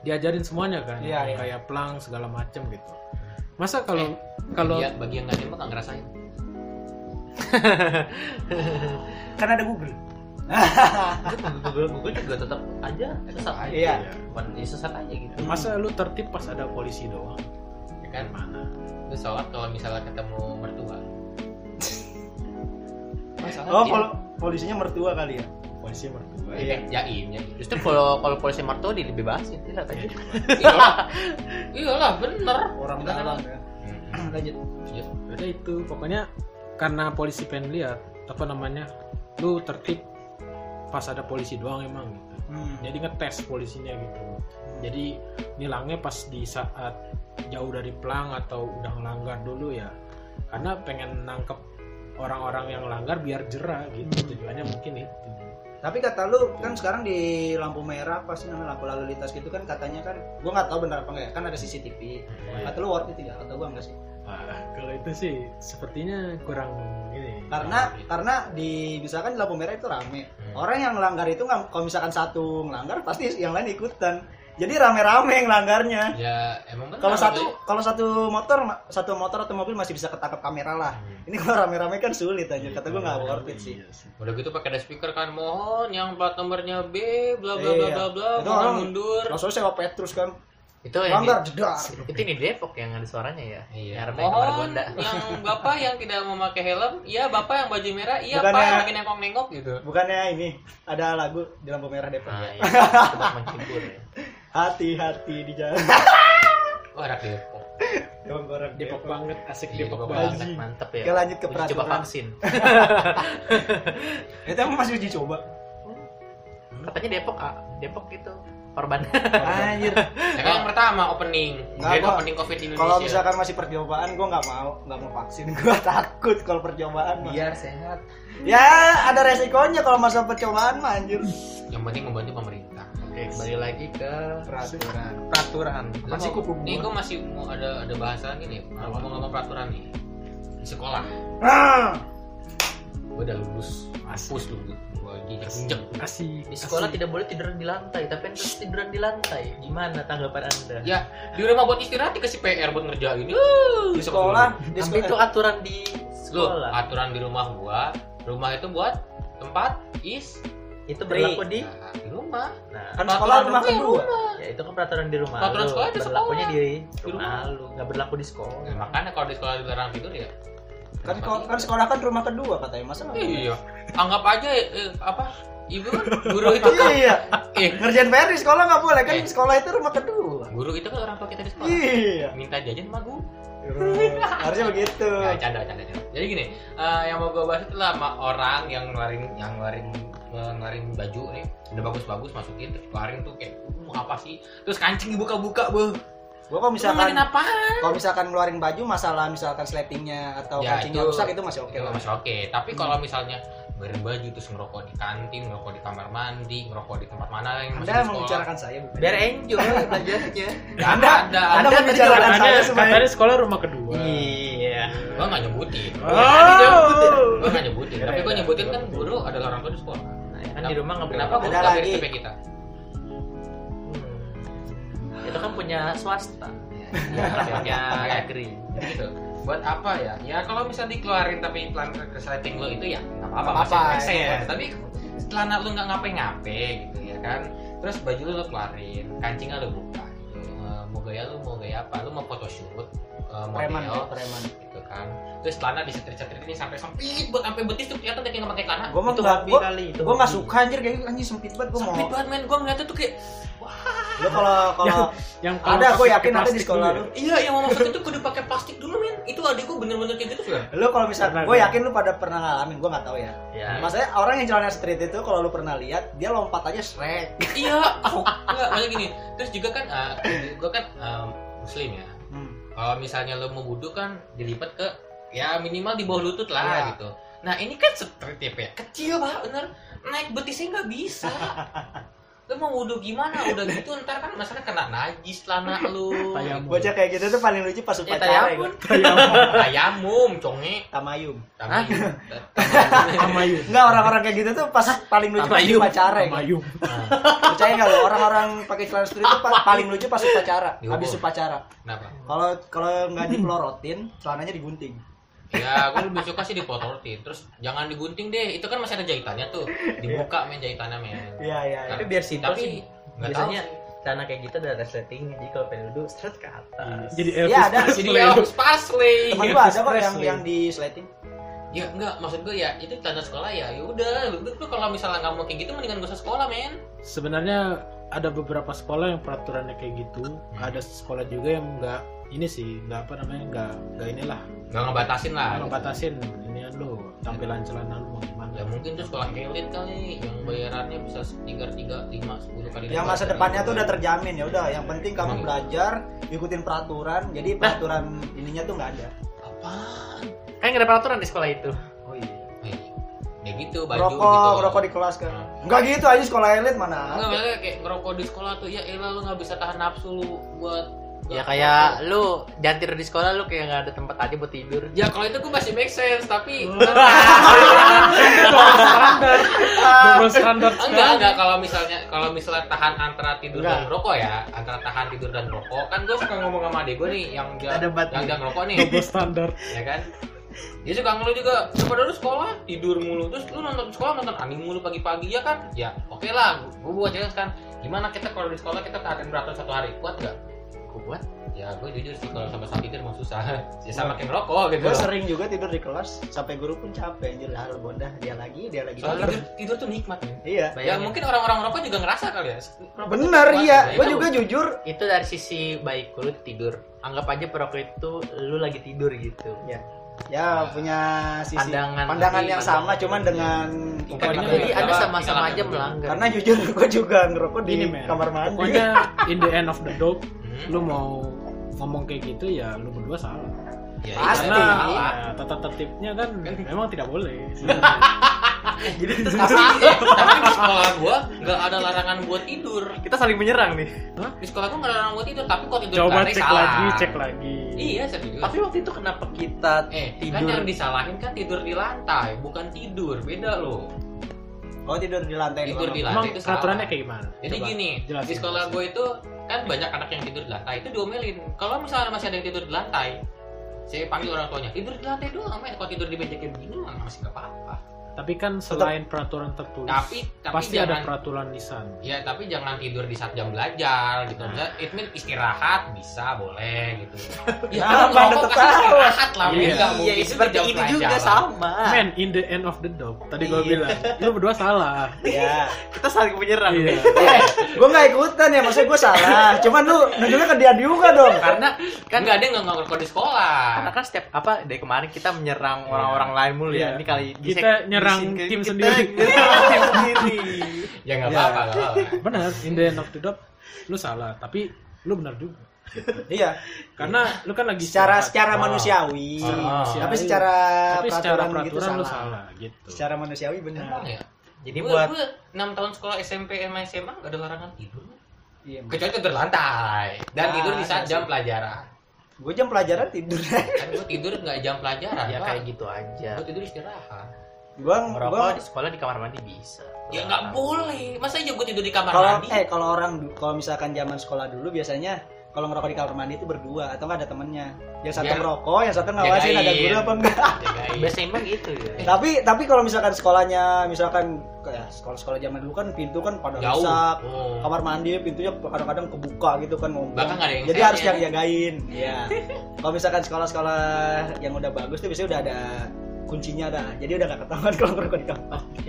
Speaker 2: diajarin semuanya kan,
Speaker 4: Iya, iya.
Speaker 2: kayak plang segala macem gitu. Masa kalau
Speaker 4: Eh,
Speaker 2: kalau
Speaker 3: Iya, bagi yang nggak nembak nggak ngerasain.
Speaker 4: kan ada Google
Speaker 1: Google Google juga tetap aja sesat aja
Speaker 4: Iya.
Speaker 1: bukan sesat aja gitu
Speaker 2: masa lu tertib pas ada polisi doang,
Speaker 3: Ya kan,
Speaker 2: mana?
Speaker 3: itu sholat kalau misalnya ketemu mertua. Masalah
Speaker 4: oh pol polisinya mertua kali ya
Speaker 2: Polisi mertua.
Speaker 4: Iya.
Speaker 3: Eh, jaim, jaim.
Speaker 1: justru kalau kalau polisi mertua dibebasin tidak
Speaker 2: Ya,
Speaker 1: tadi
Speaker 3: Iyalah, iyalah bener.
Speaker 4: orang
Speaker 3: Kita kan-
Speaker 4: dalam ya
Speaker 3: Hmm.
Speaker 4: lanjut
Speaker 2: ada itu pokoknya karena polisi pengen lihat apa namanya lu tertib pas ada polisi doang emang gitu
Speaker 4: Hmm.
Speaker 2: jadi ngetes polisinya gitu jadi nilangnya pas di saat jauh dari pelang atau udah ngelanggar dulu ya karena pengen nangkep orang-orang yang langgar biar jerah gitu
Speaker 4: Hmm.
Speaker 2: tujuannya mungkin itu
Speaker 4: Tapi kata lu kan sekarang di lampu merah apa sih namanya lampu lalu lintas gitu kan katanya kan gua nggak tahu benar apa enggak ya kan ada CCTV. Kata lu worth it tidak? Kata gua enggak sih.
Speaker 2: Wah, Nah, kalau itu sih sepertinya kurang ini.
Speaker 4: karena karena di misalkan di lampu merah itu rame orang yang melanggar itu nggak kalau misalkan satu melanggar pasti yang lain ikutan jadi rame-rame yang langgarnya
Speaker 3: ya emang benar
Speaker 4: kalau satu
Speaker 3: kali.
Speaker 4: kalau satu motor ma- satu motor atau mobil masih bisa ketangkap kamera lah
Speaker 3: Hmm.
Speaker 4: ini kalau rame-rame kan sulit aja kata gue nggak worth it sih
Speaker 2: Iya
Speaker 3: udah gitu pakai ada speaker kan mohon yang plat nomornya B bla bla bla
Speaker 4: Iya.
Speaker 3: bla bla
Speaker 4: Itu
Speaker 3: mohon
Speaker 4: orang-
Speaker 3: mundur
Speaker 4: langsung saya Petrus kan
Speaker 1: itu yang
Speaker 4: melanggar
Speaker 1: di-
Speaker 4: jedar
Speaker 1: itu di Depok yang ada suaranya ya
Speaker 3: Iya.
Speaker 1: yang remeh kamar
Speaker 3: Mohon
Speaker 1: Gonda
Speaker 3: yang bapak yang tidak memakai helm, iya bapak yang baju merah, iya
Speaker 4: Bukannya-
Speaker 3: pak yang lagi nengok nengok gitu.
Speaker 4: bukannya ini ada lagu di lampu merah Depok
Speaker 1: nah iya Tempat menghibur ya
Speaker 4: hati-hati di jalan
Speaker 3: Wah anak Depok.
Speaker 4: Emang orang
Speaker 2: Depok banget, asik
Speaker 3: Iya,
Speaker 2: Depok
Speaker 3: Depok
Speaker 2: banget.
Speaker 1: Mantap, mantep ya
Speaker 4: Oke, lanjut ke
Speaker 1: Uji coba
Speaker 4: peraturan.
Speaker 1: vaksin
Speaker 4: itu emang masih uji coba
Speaker 1: katanya Depok ah Depok itu korban
Speaker 4: anjir
Speaker 3: Ya kan yang pertama opening,
Speaker 4: Nggak,
Speaker 3: Grand
Speaker 4: gua-
Speaker 3: opening covid Indonesia.
Speaker 4: kalau misalkan masih percobaan gue nggak mau nggak mau vaksin gue takut kalau percobaan mah.
Speaker 1: Iya. sehat
Speaker 4: ya ada resikonya kalau masa percobaan mah anjir
Speaker 3: yang penting membantu pemerintah.
Speaker 1: oke kembali lagi ke
Speaker 4: peraturan peraturan masih
Speaker 3: Gua mau-
Speaker 4: kupu
Speaker 3: Nih gue masih mau ada ada bahasan gini. Ngomong-ngomong peraturan nih di sekolah, gue udah lulus,
Speaker 2: Asik.
Speaker 3: push dulu, gue diinjek
Speaker 2: Asik.
Speaker 1: di sekolah
Speaker 2: asik.
Speaker 1: tidak boleh tiduran di lantai tapi harus tiduran di lantai gimana tanggapan anda
Speaker 3: Ya di rumah buat istirahat dikasih PR buat ngerjain. Yuh,
Speaker 4: di sekolah di
Speaker 1: tapi itu
Speaker 4: sekolah
Speaker 1: aturan di
Speaker 3: Lu,
Speaker 1: sekolah
Speaker 3: aturan di rumah gua, rumah itu buat tempat is
Speaker 1: itu berlaku di
Speaker 3: nah, di rumah.
Speaker 1: nah
Speaker 4: kan sekolah
Speaker 3: Peraturan
Speaker 4: rumah
Speaker 3: gua ya
Speaker 4: kedua
Speaker 1: ya itu kan peraturan di rumah
Speaker 3: Peraturan
Speaker 1: lu.
Speaker 3: sekolah di
Speaker 1: berlakunya di
Speaker 3: Di
Speaker 1: rumah
Speaker 3: rumah.
Speaker 1: lu nggak berlaku di sekolah
Speaker 3: Nah, makanya kalau di sekolah dilarang tidur ya.
Speaker 4: kan
Speaker 3: tempat
Speaker 4: ko-
Speaker 3: tidur.
Speaker 4: kan sekolah kan rumah kedua katanya masa nggak boleh?
Speaker 3: Iya. Anggap aja eh, apa ibu kan guru itu
Speaker 4: iya iya
Speaker 3: eh
Speaker 4: ngerjain PR di sekolah nggak boleh kan
Speaker 3: Eh.
Speaker 4: sekolah itu rumah kedua
Speaker 3: guru itu kan orang tua kita di sekolah.
Speaker 4: iya
Speaker 3: Minta jajan sama guru.
Speaker 4: harusnya begitu
Speaker 3: Nah, canda, canda, canda. Jadi gini, eh, yang mau gue bahas itu lah sama orang yang ngeluarin yang ngeluarin eh, ngeluarin baju nih udah bagus-bagus masukin terus keluarin tuh kayak "Uh, apa sih terus kancing dibuka-buka bu
Speaker 4: gua kalau misalkan
Speaker 3: ngeluarin apa
Speaker 4: kalau misalkan ngeluarin baju masalah misalkan sletingnya atau
Speaker 3: Ya,
Speaker 4: kancingnya
Speaker 3: itu-
Speaker 4: rusak itu masih oke
Speaker 3: Oke lah
Speaker 4: lah
Speaker 3: masih oke. Tapi kalau misalnya ngeluarin baju terus ngerokok di kantin, ngerokok di kamar mandi, ngerokok di tempat mana yang masih
Speaker 4: anda
Speaker 3: di sekolah.
Speaker 4: membicarakan saya bukan
Speaker 1: biar enjoy belajarnya
Speaker 3: Ya, anda ada.
Speaker 4: anda membicarakan
Speaker 2: Katanya,
Speaker 4: saya sebagai
Speaker 2: katanya sekolah rumah kedua.
Speaker 1: iya
Speaker 3: Gua nggak nyebutin.
Speaker 4: oh
Speaker 3: Gua nggak nyebutin. Tapi gua
Speaker 1: Iya, iya.
Speaker 3: nyebutin kan guru adalah orang tua di sekolah.
Speaker 1: nah, kan di rumah nggak
Speaker 3: Kenapa
Speaker 1: berlaku
Speaker 3: guru
Speaker 4: Ada
Speaker 3: nggak
Speaker 4: lagi.
Speaker 3: respect kita?
Speaker 1: Hmm. itu kan punya swasta
Speaker 3: Ya,
Speaker 1: punya
Speaker 3: oke.
Speaker 1: negeri
Speaker 3: Gitu. Buat apa ya? Ya kalau misalnya dikeluarin tapi pelan resleting lo itu ya nggak apa-apa.
Speaker 4: Nggak
Speaker 3: Masih
Speaker 4: apa-apa,
Speaker 3: make sense.
Speaker 4: iya.
Speaker 3: Tapi setelah anak lu nggak ngapain-ngapain gitu ya kan. Terus baju lu, lu keluarin, kancingnya lu buka. Gitu. Eh, Mau gaya lu mau gaya apa? Lu mau photoshoot, eh,
Speaker 4: preman ya,
Speaker 3: model,
Speaker 4: preman
Speaker 3: gitu kan terus celana disetir-setir ini sampai sempit buat sampai betis tuh kelihatan kayak nggak pakai celana
Speaker 4: gua mah
Speaker 1: itu
Speaker 4: nggak
Speaker 1: hobi
Speaker 4: gua
Speaker 1: kali itu
Speaker 4: gua nggak
Speaker 1: hobi.
Speaker 4: suka anjir kayak gitu anjir sempit banget gua mau
Speaker 3: sempit banget men gua ngeliatnya tuh kayak
Speaker 4: lu kalau kalau
Speaker 2: Yang kalau
Speaker 4: ada
Speaker 2: pakai
Speaker 4: gua yakin ada di
Speaker 2: plastik
Speaker 4: sekolah
Speaker 2: dulu
Speaker 4: lu
Speaker 2: ya.
Speaker 3: iya yang mau masuk itu kudu pakai plastik dulu men itu adik gua bener-bener kayak gitu kan
Speaker 4: lu kalau misalkan
Speaker 2: Pernah
Speaker 4: gua
Speaker 2: gua.
Speaker 4: yakin lu pada pernah ngalamin gua nggak tahu ya
Speaker 1: ya
Speaker 4: maksudnya orang yang celana street itu kalau lu pernah lihat dia lompat aja shrek
Speaker 3: iya aku nggak maksudnya gini terus juga kan eh, gua kan eh, muslim ya
Speaker 4: Hmm.
Speaker 3: kalau misalnya lo mau wudhu kan dilipat ke ya minimal di bawah lutut lah
Speaker 4: Iya.
Speaker 3: gitu nah ini kan seperti apa ya kecil pak bener naik betisnya nggak bisa lo mau wudhu gimana udah gitu ntar kan masalah kena najis celana lu
Speaker 2: Tayamum.
Speaker 4: bocah kayak gitu tuh paling lucu pas
Speaker 3: ya
Speaker 4: upacara
Speaker 3: tayamum
Speaker 4: ya.
Speaker 3: tayamum conge eh,
Speaker 4: tamayum
Speaker 3: Tamayum.
Speaker 2: Amayum.
Speaker 4: Enggak orang-orang kayak gitu tuh pas paling lucu pas
Speaker 1: Tamayum.
Speaker 4: upacara ya.
Speaker 2: Amayum.
Speaker 4: Percaya nggak lo orang-orang pakai celana street itu pa- paling lucu pas upacara,
Speaker 3: Dihukum.
Speaker 4: habis upacara.
Speaker 3: kenapa
Speaker 4: Kalau kalau nggak dipelorotin, celananya digunting.
Speaker 3: ya gue lebih suka sih dipotorotin terus jangan digunting deh itu kan masih ada jahitannya tuh dibuka men jahitannya men
Speaker 4: Iya iya.
Speaker 1: tapi biar simpel
Speaker 3: Tapi,
Speaker 1: sih
Speaker 3: nggak tahu
Speaker 1: biasanya celana kayak gitu ada resleting jadi kalau pengen duduk straight ke atas
Speaker 2: Jadi
Speaker 4: Iya,
Speaker 2: Elvis.
Speaker 4: ada.
Speaker 2: Presley.
Speaker 3: jadi harus Presley
Speaker 4: Temen gua ada
Speaker 2: Elvis
Speaker 4: kok yang
Speaker 2: Presley.
Speaker 4: yang di sleting.
Speaker 3: ya enggak maksud gue ya itu tanda sekolah ya ya udah lu, lu kalau misalnya nggak mau kayak gitu mendingan gak usah sekolah men
Speaker 2: Sebenarnya ada beberapa sekolah yang peraturannya kayak gitu.
Speaker 4: Hmm.
Speaker 2: Ada sekolah juga yang nggak ini sih nggak apa namanya nggak nggak inilah
Speaker 4: Nah,
Speaker 3: nggak ngebatasin lah gitu.
Speaker 2: ngebatasin ini lo tampilan celana lu mau gimana
Speaker 3: ya mungkin tuh sekolah elit kali yang bayarannya bisa tiga tiga lima sepuluh
Speaker 4: Yang
Speaker 3: kali lipat
Speaker 4: masa
Speaker 3: dari
Speaker 4: depannya tuh
Speaker 3: gue.
Speaker 4: udah terjamin ya udah. Yang penting
Speaker 3: Emang.
Speaker 4: kamu belajar, ikutin peraturan. Jadi peraturan ininya tuh nggak ada.
Speaker 3: apaan
Speaker 1: kan nggak ada peraturan di sekolah itu
Speaker 4: Oh iya.
Speaker 3: Eh, ya gitu baju
Speaker 4: Rokok,
Speaker 3: gitu
Speaker 4: rokok di kelas kan.
Speaker 3: Hmm.
Speaker 4: Enggak gitu aja sekolah elit mana.
Speaker 3: Enggak, maksudnya kayak ngerokok di sekolah tuh ya elah lu nggak bisa tahan nafsu lu buat
Speaker 1: Ya kayak lu jantir di sekolah lu kayak nggak ada tempat aja buat tidur.
Speaker 3: Ya kalau itu gue masih make sense, tapi
Speaker 2: double standar
Speaker 3: enggak enggak kalau misalnya kalau misalnya tahan antara tidur dan
Speaker 4: Enggak.
Speaker 3: rokok ya, antara tahan tidur dan rokok kan gue suka ngomong sama adik gue nih yang dia
Speaker 4: Ada bat
Speaker 3: yang
Speaker 4: nih.
Speaker 3: dia ngerokok nih,
Speaker 2: double standar
Speaker 3: ya kan? Dia suka ngeluh juga, daripada lu sekolah tidur mulu terus lu nonton sekolah nonton anime mulu pagi-pagi ya kan? Ya oke lah, gue buat jelas kan. Gimana kita kalau di sekolah kita tahan berat satu hari kuat nggak?
Speaker 1: Kuat.
Speaker 3: Ya gue jujur sih kalau sama sakit itu emang susah. Ya sama kayak ngerokok gitu.
Speaker 4: gue sering juga tidur di kelas sampai guru pun capek anjir lah lu bondah dia lagi dia lagi tidur.
Speaker 3: Soalnya tidur, tidur tuh nikmat men.
Speaker 4: iya
Speaker 3: Ya
Speaker 1: Bayangin.
Speaker 3: mungkin orang-orang merokok juga ngerasa kali ya. Merokok tuh
Speaker 4: bener
Speaker 3: nikmat,
Speaker 4: iya
Speaker 3: ya.
Speaker 4: gue
Speaker 3: Itu-
Speaker 4: juga jujur
Speaker 1: Itu dari sisi baik lu tidur. Anggap aja perokok itu lu lagi tidur gitu.
Speaker 4: ya punya sisi
Speaker 1: Pandangan.
Speaker 4: pandangan
Speaker 1: tapi
Speaker 4: yang
Speaker 1: pandangan.
Speaker 4: sama cuman dengan
Speaker 3: Ikan ini
Speaker 1: Jadi
Speaker 3: Iya,
Speaker 1: anda
Speaker 3: iya,
Speaker 1: sama-sama
Speaker 3: iya,
Speaker 1: aja
Speaker 3: iya.
Speaker 1: melanggar.
Speaker 4: karena jujur gue juga ngerokok di
Speaker 2: Gini, men.
Speaker 4: kamar mandi
Speaker 2: pokoknya in the end of the dog
Speaker 3: Hmm.
Speaker 2: lu mau ngomong kayak gitu ya lu berdua salah
Speaker 3: Ya,
Speaker 4: Pasti.
Speaker 3: itu salah.
Speaker 2: karena ah, tata tertibnya kan memang tidak boleh
Speaker 4: jadi
Speaker 3: Tapi, tapi di sekolah gua nggak ada larangan buat tidur.
Speaker 1: Kita saling menyerang nih.
Speaker 3: Di sekolah gua nggak ada larangan buat tidur, tapi kok tidur
Speaker 2: coba
Speaker 3: lari
Speaker 2: cek
Speaker 3: salah.
Speaker 2: lagi cek lagi
Speaker 3: Iya serius.
Speaker 1: Tapi waktu itu kenapa kita
Speaker 3: eh kan
Speaker 1: tidur
Speaker 3: yang disalahin kan tidur di lantai, bukan tidur. Beda loh.
Speaker 4: oh tidur di lantai
Speaker 3: Tidur
Speaker 4: doang.
Speaker 3: di
Speaker 2: emang
Speaker 3: lantai itu salah.
Speaker 2: peraturannya kayak gimana
Speaker 3: Jadi
Speaker 2: Coba.
Speaker 3: gini,
Speaker 2: jelasin.
Speaker 3: di sekolah gue itu kan banyak anak yang tidur di lantai, itu diomelin. Kalau misalnya masih ada yang tidur di lantai, saya panggil orang tuanya, tidur di lantai doang, men. Kalau tidur di meja kayak begini, mah masih nggak apa-apa.
Speaker 2: tapi kan selain peraturan tertulis
Speaker 3: Tapi, tapi
Speaker 2: pasti
Speaker 3: jangan,
Speaker 2: ada peraturan lisan
Speaker 3: Ya, tapi jangan tidur di saat jam belajar gitu. Misalnya, it mean istirahat bisa boleh gitu. ya,
Speaker 4: Nah,
Speaker 3: kalau
Speaker 4: pada
Speaker 3: ngerokok kan
Speaker 4: ketawa.
Speaker 3: istirahat lah, men.
Speaker 2: Iya.
Speaker 3: Nggak mungkin
Speaker 1: Iya,
Speaker 3: di
Speaker 1: seperti
Speaker 3: jam
Speaker 1: ini
Speaker 3: pelajaran.
Speaker 1: juga sama.
Speaker 2: Man, in the end of the dog. Tadi gue
Speaker 4: Iya.
Speaker 2: bilang, lu berdua salah.
Speaker 4: ya
Speaker 1: Kita saling menyerang.
Speaker 2: Iya.
Speaker 4: gue nggak ikutan ya maksudnya gue salah cuman lu nunjuknya ke dia juga dong
Speaker 1: Karena
Speaker 3: Kan nggak ada yang nggak ngerokok di sekolah.
Speaker 1: karena kan setiap apa dari kemarin kita menyerang orang-orang lain mulu ya.
Speaker 2: Iya.
Speaker 1: Ini kali di
Speaker 2: Kita
Speaker 1: sek- di
Speaker 2: nyerang
Speaker 1: sini
Speaker 2: tim
Speaker 1: kita
Speaker 2: sendiri.
Speaker 1: nyerang tim sendiri.
Speaker 3: Ya nggak
Speaker 4: Iya.
Speaker 3: apa-apa, nggak apa-apa.
Speaker 2: Benar, in the end of the dog, lu salah. Tapi lu benar juga.
Speaker 4: iya
Speaker 2: Karena lu kan lagi
Speaker 4: secara
Speaker 2: istirahat.
Speaker 4: secara
Speaker 3: Oh.
Speaker 4: manusiawi
Speaker 3: Secara manusiawi.
Speaker 4: tapi secara
Speaker 2: tapi secara
Speaker 4: peraturan gitu
Speaker 2: peraturan lu
Speaker 4: salah
Speaker 2: salah gitu.
Speaker 4: secara manusiawi
Speaker 3: Emang
Speaker 4: benar
Speaker 3: ya?
Speaker 1: Jadi
Speaker 3: Gua-
Speaker 1: buat
Speaker 3: gua 6 tahun sekolah SMP sama SMA nggak ada larangan tidur.
Speaker 4: iya
Speaker 3: Kecuali tidur lantai dan
Speaker 4: Ah,
Speaker 3: tidur di saat
Speaker 4: iya
Speaker 3: jam
Speaker 4: sih.
Speaker 3: pelajaran.
Speaker 4: gue jam pelajaran tidur
Speaker 3: Kan gue tidur nggak jam pelajaran.
Speaker 1: ya
Speaker 3: Pak.
Speaker 1: kayak gitu aja.
Speaker 3: Gua tidur istirahat.
Speaker 4: gue
Speaker 1: Merokok di sekolah di kamar mandi bisa.
Speaker 3: Ya nggak boleh. Masa aja gue tidur di kamar
Speaker 4: kalau
Speaker 3: mandi?
Speaker 4: eh kalau orang du- kalau misalkan zaman sekolah dulu biasanya kalau ngerokok di kamar mandi itu berdua atau nggak ada temennya yang satu
Speaker 3: Biar-
Speaker 4: ngerokok yang satu ngawasin ada
Speaker 3: Ya. jagain.
Speaker 4: guru apa enggak
Speaker 3: Jagain.
Speaker 1: Biasanya emang gitu ya.
Speaker 4: tapi tapi kalau misalkan sekolahnya misalkan kayak sekolah-sekolah zaman dulu kan pintu kan pada
Speaker 3: jauh.
Speaker 4: rusak
Speaker 3: Oh.
Speaker 4: kamar mandi pintunya kadang-kadang kebuka gitu kan ngompong.
Speaker 3: Bahkan nggak ada yang
Speaker 4: jadi
Speaker 3: sel
Speaker 4: harus
Speaker 3: ya. Iya.
Speaker 4: yang jagain ya kalau misalkan sekolah-sekolah yang udah bagus tuh biasanya udah ada kuncinya dah jadi udah gak ketahuan kalau ngerokok di kamar mandi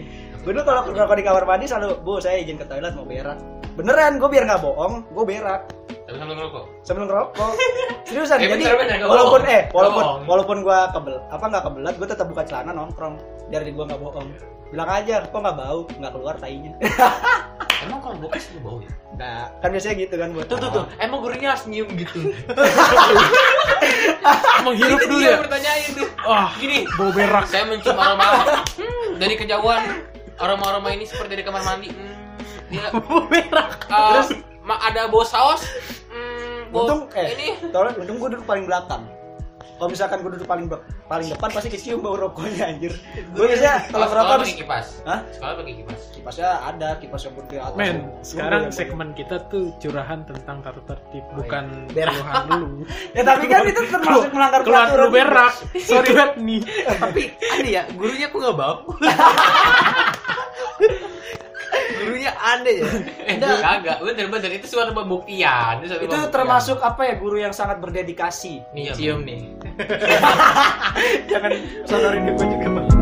Speaker 4: gue dulu kalau ngerokok di kamar mandi selalu bu saya izin ke toilet mau berak beneran gue biar nggak bohong gue berak
Speaker 3: Tapi sambil ngerokok.
Speaker 4: sebelum ngerokok seriusan
Speaker 3: Eh,
Speaker 4: jadi
Speaker 3: bener-bener nggak
Speaker 4: walaupun
Speaker 3: bohong.
Speaker 4: eh walaupun
Speaker 3: Nggak bohong.
Speaker 4: walaupun gue kebel apa nggak kebelat gue tetap buka celana nongkrong biar gue nggak bohong bilang aja kok nggak bau nggak keluar tainya
Speaker 3: Emang kalau bokeh sih bau ya?
Speaker 4: nah kan biasanya gitu kan buat
Speaker 1: Tuh tuh tuh, emang gurunya senyum gitu.
Speaker 2: Menghirup
Speaker 3: Itu
Speaker 2: dulu ya.
Speaker 3: dia pertanyaan itu.
Speaker 2: Wah,
Speaker 3: Gini,
Speaker 2: bau berak.
Speaker 3: saya mencium aroma Hmm, dari kejauhan. Aroma-aroma ini seperti dari kamar mandi. Hmm, dia
Speaker 1: Merah.
Speaker 3: eh, ma- ada bau saus. Hmm, bau
Speaker 4: untung eh
Speaker 3: ini
Speaker 4: tolong untung gue duduk paling belakang kalau misalkan gue duduk paling be- paling depan pasti kecium bau rokoknya anjir gue biasanya
Speaker 3: Iya, kalau
Speaker 4: kalau ngerokok
Speaker 3: sekolah
Speaker 4: habis
Speaker 3: pakai kipas.
Speaker 4: Hah?
Speaker 3: Sekolah pakai kipas.
Speaker 4: kipasnya ada kipas yang putih atas
Speaker 2: Men,
Speaker 4: Gua
Speaker 2: sekarang
Speaker 4: bayang-
Speaker 2: segmen kita tuh curahan tentang tata tertib, bukan
Speaker 4: Oh, iya. Berak.
Speaker 2: keluhan dulu.
Speaker 4: ya tapi kan itu termasuk melanggar
Speaker 2: Keluhan
Speaker 4: peraturan
Speaker 2: lu berak. Sorry banget nih.
Speaker 1: Tapi aneh ya, gurunya kok nggak bau. gurunya aneh ya.
Speaker 3: Eh,
Speaker 2: Iya.
Speaker 3: kagak. Bener-bener itu suatu pembuktian. suatu
Speaker 4: itu
Speaker 3: pembuktian. Iya,
Speaker 4: termasuk apa ya guru yang sangat berdedikasi
Speaker 1: Nih cium nih.
Speaker 4: jangan sonorin gue juga Bang.